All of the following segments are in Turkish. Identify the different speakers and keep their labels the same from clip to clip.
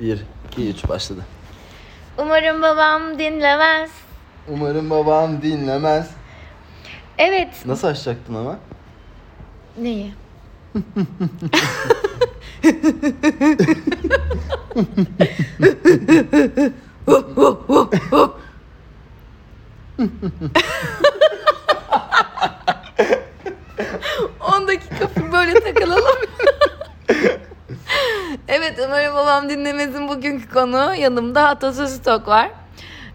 Speaker 1: 1, 2, 3 başladı.
Speaker 2: Umarım babam dinlemez.
Speaker 1: Umarım babam dinlemez.
Speaker 2: Evet.
Speaker 1: Nasıl açacaktın ama?
Speaker 2: Neyi? On dakika böyle takılalım. evet umarım babam dinlemezin bugünkü konu. Yanımda Atasözü Stok var.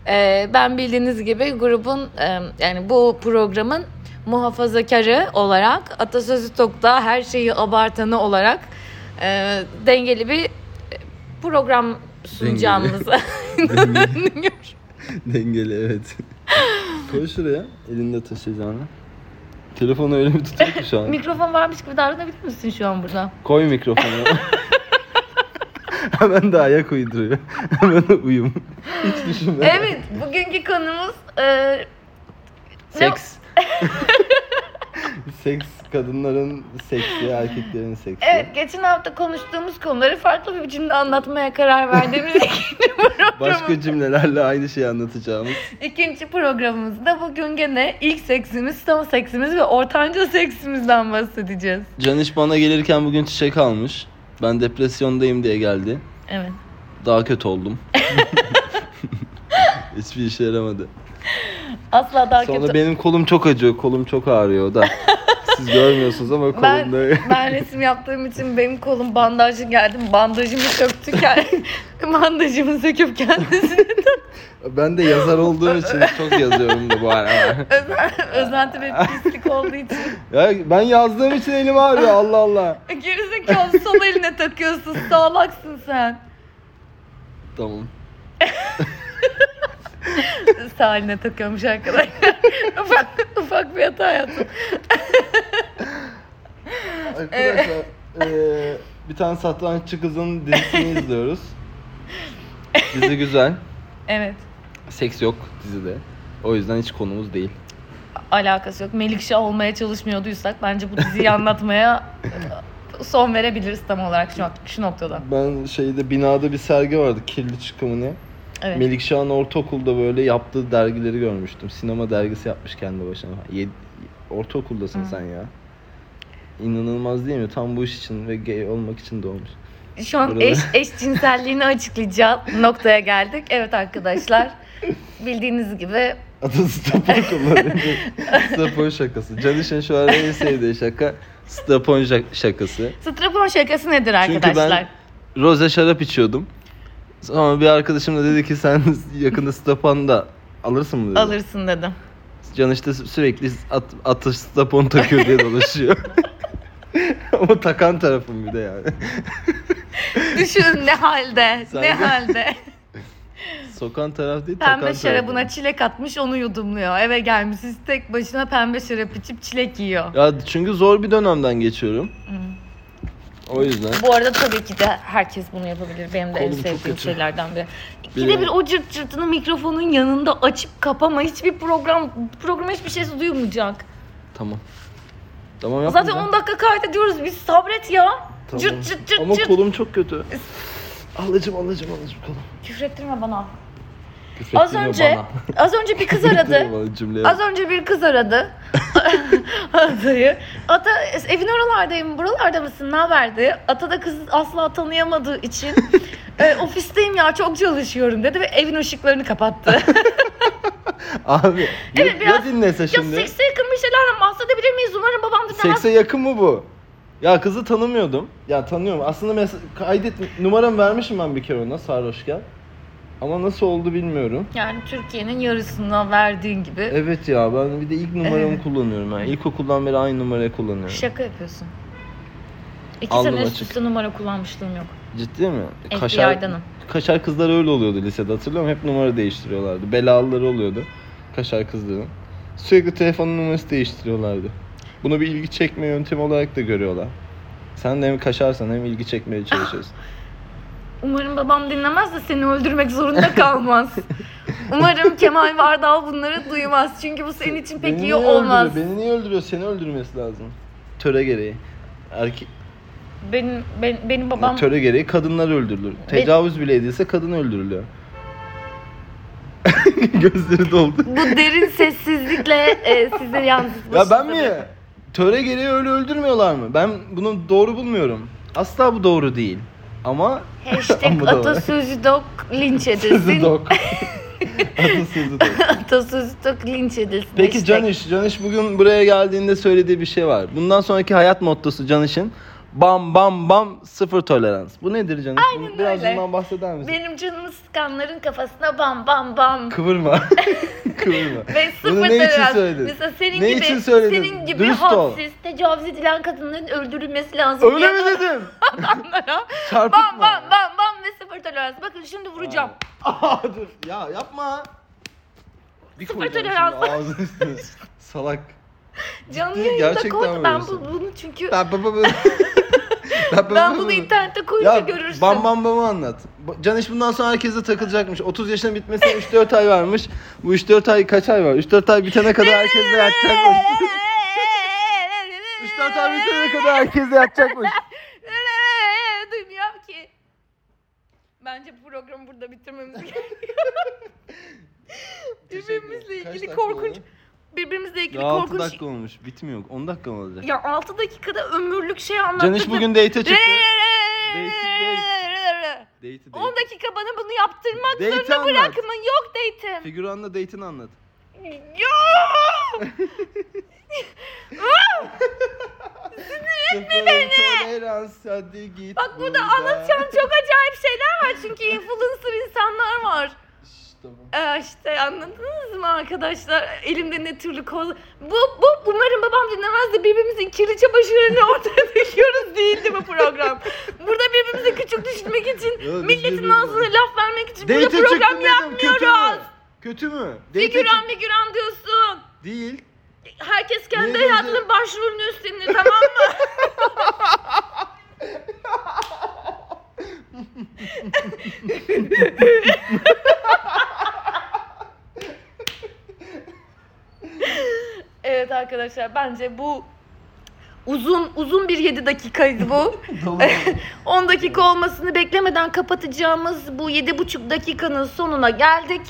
Speaker 2: Ee, ben bildiğiniz gibi grubun e, yani bu programın muhafazakarı olarak Atasözü Stok'ta her şeyi abartanı olarak e, dengeli bir program sunacağımızı düşünüyorum.
Speaker 1: Dengeli evet. Koy şuraya. Elinde taşıyacağını. Telefonu öyle mi tutuyor ki şu an?
Speaker 2: Mikrofon varmış gibi davranabilir misin şu an burada?
Speaker 1: Koy mikrofonu. Hemen de ayak uyduruyor. Hemen uyum. Hiç düşünme.
Speaker 2: Evet bugünkü konumuz e,
Speaker 1: Seks. seks kadınların seksi, erkeklerin seksi.
Speaker 2: Evet geçen hafta konuştuğumuz konuları farklı bir biçimde anlatmaya karar verdiğimiz ikinci
Speaker 1: Başka cümlelerle aynı şeyi anlatacağımız.
Speaker 2: İkinci programımızda bugün gene ilk seksimiz, son seksimiz ve ortanca seksimizden bahsedeceğiz.
Speaker 1: Can iş bana gelirken bugün çiçek almış. Ben depresyondayım diye geldi.
Speaker 2: Evet.
Speaker 1: Daha kötü oldum. Hiçbir işe yaramadı.
Speaker 2: Asla daha
Speaker 1: Sonra
Speaker 2: kötü.
Speaker 1: benim kolum çok acıyor, kolum çok ağrıyor da. Siz görmüyorsunuz ama
Speaker 2: Ben,
Speaker 1: kolumda...
Speaker 2: ben resim yaptığım için benim kolum bandajlı geldi. Bandajımı söktü kend- Bandajımı söküp kendisini
Speaker 1: Ben de yazar olduğum için çok yazıyorum da bu ara.
Speaker 2: özen, özenti ve pislik olduğu için.
Speaker 1: Ya ben yazdığım için elim ağrıyor Allah Allah.
Speaker 2: Gerizekalı sol eline takıyorsun. Sağlaksın sen.
Speaker 1: Tamam.
Speaker 2: Sağ eline takıyormuş arkadaşlar. ufak, ufak bir hata yaptım.
Speaker 1: Arkadaşlar
Speaker 2: e,
Speaker 1: eee, Ee, bir tane satranççı kızın dizisini izliyoruz. Dizi güzel.
Speaker 2: Evet.
Speaker 1: Seks yok dizide. O yüzden hiç konumuz değil.
Speaker 2: alakası yok. Melikşah olmaya çalışmıyorduysak bence bu diziyi anlatmaya e, son verebiliriz tam olarak şu, şu noktada.
Speaker 1: Ben şeyde binada bir sergi vardı kirli çıkımı ne?
Speaker 2: Evet.
Speaker 1: Melikşah'ın ortaokulda böyle yaptığı dergileri görmüştüm. Sinema dergisi yapmış kendi başına. Yed- ortaokuldasın
Speaker 2: Hı.
Speaker 1: sen ya. İnanılmaz değil mi? Tam bu iş için ve gay olmak için doğmuş.
Speaker 2: şu an
Speaker 1: Burada-
Speaker 2: eş, eşcinselliğini açıklayacağı noktaya geldik. Evet arkadaşlar. Bildiğiniz gibi
Speaker 1: Adı Stapon kullanıyor. Stapon şakası. Caniş'in şu an en sevdiği şaka Stapon şak- şakası.
Speaker 2: strapon şakası nedir
Speaker 1: Çünkü
Speaker 2: arkadaşlar?
Speaker 1: ben roze şarap içiyordum. Sonra bir arkadaşım da dedi ki sen yakında Stapon da alırsın mı dedi.
Speaker 2: Alırsın dedim.
Speaker 1: Can işte sü- sürekli at, atış stapon takıyor diye dolaşıyor. Ama takan tarafım bir de yani.
Speaker 2: Düşün ne halde,
Speaker 1: Sen
Speaker 2: ne
Speaker 1: de-
Speaker 2: halde.
Speaker 1: Sokan taraf değil takan
Speaker 2: Pembe
Speaker 1: taraf.
Speaker 2: şarabına çilek atmış onu yudumluyor. Eve gelmişiz tek başına pembe şarap içip çilek yiyor.
Speaker 1: Ya çünkü zor bir dönemden geçiyorum. O yüzden.
Speaker 2: Hmm. Bu arada tabii ki de herkes bunu yapabilir. Benim de en
Speaker 1: Kolum çok
Speaker 2: sevdiğim
Speaker 1: kötü.
Speaker 2: şeylerden biri. İkide
Speaker 1: Benim-
Speaker 2: bir o cırt cırtını mikrofonun yanında açıp kapama. Hiçbir program, programa hiçbir şey duyulmayacak.
Speaker 1: Tamam. Tamam yapma.
Speaker 2: Zaten 10 dakika kaydediyoruz. Biz sabret ya.
Speaker 1: Tamam.
Speaker 2: Cırt cırt cırt
Speaker 1: Ama
Speaker 2: cırt.
Speaker 1: kolum çok kötü. Alacım alacım alacım kolum.
Speaker 2: Küfrettirme bana.
Speaker 1: Küfür
Speaker 2: az
Speaker 1: ettirme
Speaker 2: önce,
Speaker 1: bana.
Speaker 2: az önce bir kız
Speaker 1: Ettirme
Speaker 2: aradı.
Speaker 1: bana cümleye.
Speaker 2: Az önce bir kız aradı. Ata'yı. Ata evin oralardayım. Buralarda mısın? Ne haber diye. Ata da kızı asla tanıyamadığı için "E, ofisteyim ya çok çalışıyorum dedi ve evin ışıklarını kapattı.
Speaker 1: Abi ya-
Speaker 2: Evet,
Speaker 1: ya,
Speaker 2: biraz-
Speaker 1: dinlese
Speaker 2: ya
Speaker 1: şimdi.
Speaker 2: sekse yakın bir şeylerden bahsedebilir miyiz? Umarım babam dinlemez.
Speaker 1: Sekse yakın mı bu? Ya kızı tanımıyordum. Ya tanıyorum. Aslında mes- kaydet numaramı vermişim ben bir kere ona sarhoşken. Ama nasıl oldu bilmiyorum.
Speaker 2: Yani Türkiye'nin yarısına verdiğin gibi
Speaker 1: Evet ya ben bir de ilk numaramı
Speaker 2: Evet. Şey-
Speaker 1: kullanıyorum. Yani ilkokuldan beri aynı numarayı kullanıyorum.
Speaker 2: şaka yapıyorsun. İki
Speaker 1: Alnım
Speaker 2: sene üst
Speaker 1: açık.
Speaker 2: üste numara kullanmışlığım yok.
Speaker 1: Ciddi mi?
Speaker 2: FBI'danım.
Speaker 1: kaşar kızlar öyle oluyordu lisede hatırlıyorum. Hep numara değiştiriyorlardı. Belalıları oluyordu. Kaşar kızların. Sürekli telefonun numarası değiştiriyorlardı. Bunu bir ilgi çekme yöntemi olarak da görüyorlar. Sen de hem kaşarsan hem ilgi çekmeye çalışıyorsun.
Speaker 2: Umarım babam dinlemez de seni öldürmek zorunda kalmaz. Umarım Kemal Vardal bunları duymaz. Çünkü bu senin için pek
Speaker 1: Beni
Speaker 2: iyi
Speaker 1: niye
Speaker 2: olmaz.
Speaker 1: Öldürüyor? Beni niye öldürüyor? Seni öldürmesi lazım. Töre gereği. Erkek...
Speaker 2: Benim ben- benim babam
Speaker 1: Töre gereği kadınlar öldürülür. Tecavüz bile edilse kadın öldürülüyor. Gözleri doldu.
Speaker 2: bu derin sessizlikle e, size yansıtmış.
Speaker 1: Ya ben mi? Töre gereği öyle öldürmüyorlar mı? Ben bunu doğru bulmuyorum. Asla bu doğru değil. Ama
Speaker 2: Hashtag
Speaker 1: Bu da var.
Speaker 2: atasözü dok linç
Speaker 1: sözü
Speaker 2: edilsin.
Speaker 1: dok. Adı sözü dok.
Speaker 2: atasözü dok linç edilsin.
Speaker 1: Peki
Speaker 2: Hashtag.
Speaker 1: Caniş, Caniş bugün buraya geldiğinde söylediği bir şey var. Bundan sonraki hayat mottosu Caniş'in bam bam bam sıfır tolerans. Bu nedir Caniş?
Speaker 2: Aynen
Speaker 1: Bunu- Biraz
Speaker 2: öyle.
Speaker 1: bundan bahseder misin?
Speaker 2: Benim canımı sıkanların kafasına bam bam bam.
Speaker 1: Kıvırma. Kıvırma.
Speaker 2: Ve sıfır
Speaker 1: Bunu ne için
Speaker 2: tolerans.
Speaker 1: söyledin?
Speaker 2: Mesela senin
Speaker 1: Ne
Speaker 2: gibi,
Speaker 1: için söyledin?
Speaker 2: senin gibi
Speaker 1: Dürüst ol.
Speaker 2: hadsiz, tecavüz edilen kadınların öldürülmesi lazım.
Speaker 1: Öyle
Speaker 2: diye
Speaker 1: mi dedim?
Speaker 2: adamlara
Speaker 1: Çarpıtma.
Speaker 2: Bam bam bam bam ve sıfır tolerans. Bakın şimdi vuracağım.
Speaker 1: Aa, dur. Ya yapma. Bir koyacağım şimdi
Speaker 2: tolerans.
Speaker 1: ağzının üstüne. Salak.
Speaker 2: Canlı
Speaker 1: Ciddi,
Speaker 2: yayında
Speaker 1: gerçekten
Speaker 2: koy. Ben
Speaker 1: vuruyorsun.
Speaker 2: bu- bunu çünkü
Speaker 1: Ben, ben, ben, ben- ben-
Speaker 2: ben bunu internette koyunca
Speaker 1: Ya
Speaker 2: görürsün.
Speaker 1: bam bam bam'ı anlat. Ba- Caniş bundan sonra herkese takılacakmış. 30 yaşına bitmesine 3-4 ay varmış. Bu 3-4 ay kaç ay var? 3-4 ay bitene kadar herkesle yatacakmış. 3-4 ay bitene kadar herkesle yatacakmış.
Speaker 2: Duymuyorum ki. Bence bu programı burada bitirmemiz gerekiyor. Birbirimizle ilgili korkunç, birbirimizle ilgili
Speaker 1: Ya 6
Speaker 2: korkunç.
Speaker 1: dakika olmuş. Bitmiyor. 10 dakika mı olacak?
Speaker 2: Ya 6 dakikada ömürlük şey anlattı.
Speaker 1: Caniş bugün date'e çıktı. Date'i
Speaker 2: 10
Speaker 1: date.
Speaker 2: dakika bana bunu yaptırmak
Speaker 1: Date
Speaker 2: zorunda
Speaker 1: anlat.
Speaker 2: bırakma. Yok date'im.
Speaker 1: Figüranla date'ini anlat.
Speaker 2: Yok.
Speaker 1: Sıfır tolerans hadi git.
Speaker 2: Bak burada anlatacağım çok acayip şeyler var çünkü influencer insanlar var.
Speaker 1: Şşş, tamam.
Speaker 2: Ee, işte anladınız mı arkadaşlar? Elimde ne türlü kol... Bu, bu umarım babam dinlemez de birbirimizin kirli çamaşırlarını ortaya döküyoruz değildi bu program. Burada birbirimizi küçük düşürmek için,
Speaker 1: biz
Speaker 2: milletin
Speaker 1: birbirimize-
Speaker 2: ağzına laf vermek için
Speaker 1: Date'e
Speaker 2: burada
Speaker 1: çıktı
Speaker 2: program
Speaker 1: dedim, Kötü mü?
Speaker 2: yapmıyoruz.
Speaker 1: Kötü mü? Date'e
Speaker 2: Figüran figüran diyorsun.
Speaker 1: çık- Değil.
Speaker 2: Herkes kendi
Speaker 1: Niye
Speaker 2: hayatının
Speaker 1: gözü-
Speaker 2: başrolünü üstlenir tamam mı? evet arkadaşlar bence bu uzun uzun bir 7 dakikaydı bu. 10 dakika olmasını beklemeden kapatacağımız bu 7,5 dakikanın sonuna geldik.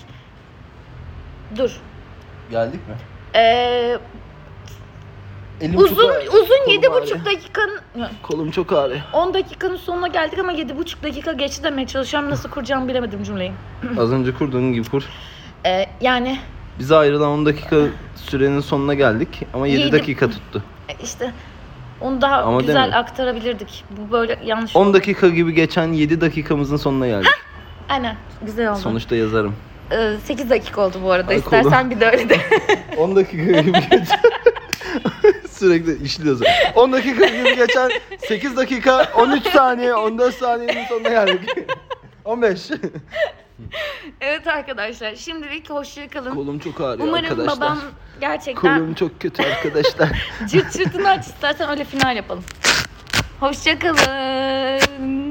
Speaker 2: Dur.
Speaker 1: Geldik mi?
Speaker 2: Ee,
Speaker 1: Elim
Speaker 2: uzun
Speaker 1: ağrıyor.
Speaker 2: uzun
Speaker 1: Kolum
Speaker 2: yedi
Speaker 1: ağrıyor.
Speaker 2: buçuk dakikanın
Speaker 1: Kolum çok ağrıyor.
Speaker 2: 10 dakikanın sonuna geldik ama yedi buçuk dakika geçti demeye çalışıyorum. Nasıl kuracağımı bilemedim cümleyi.
Speaker 1: Az önce kurduğun gibi kur.
Speaker 2: Ee, yani
Speaker 1: Bize ayrılan 10 dakika sürenin sonuna geldik ama 7
Speaker 2: Yedi.
Speaker 1: dakika tuttu.
Speaker 2: e, işte onu daha
Speaker 1: Ama
Speaker 2: güzel
Speaker 1: demiyorum.
Speaker 2: aktarabilirdik. Bu böyle yanlış.
Speaker 1: 10 dakika gibi geçen 7 dakikamızın sonuna geldik.
Speaker 2: Aynen güzel oldu.
Speaker 1: Sonuçta yazarım.
Speaker 2: 8 dakika oldu bu arada.
Speaker 1: Ay,
Speaker 2: İstersen bir de öyle de.
Speaker 1: 10 dakika gibi geçen sürekli işliyoruz. 10 dakika gibi geçen 8 dakika 13 saniye 14 saniyenin sonuna geldik. 15.
Speaker 2: evet arkadaşça şimdilik hoşça kalın.
Speaker 1: Kolum çok ağrıyor
Speaker 2: Umarım
Speaker 1: arkadaşlar.
Speaker 2: babam gerçekten
Speaker 1: Kolum çok kötü arkadaşlar.
Speaker 2: Cırt cırtını aç istersen öyle final yapalım. Hoşçakalın.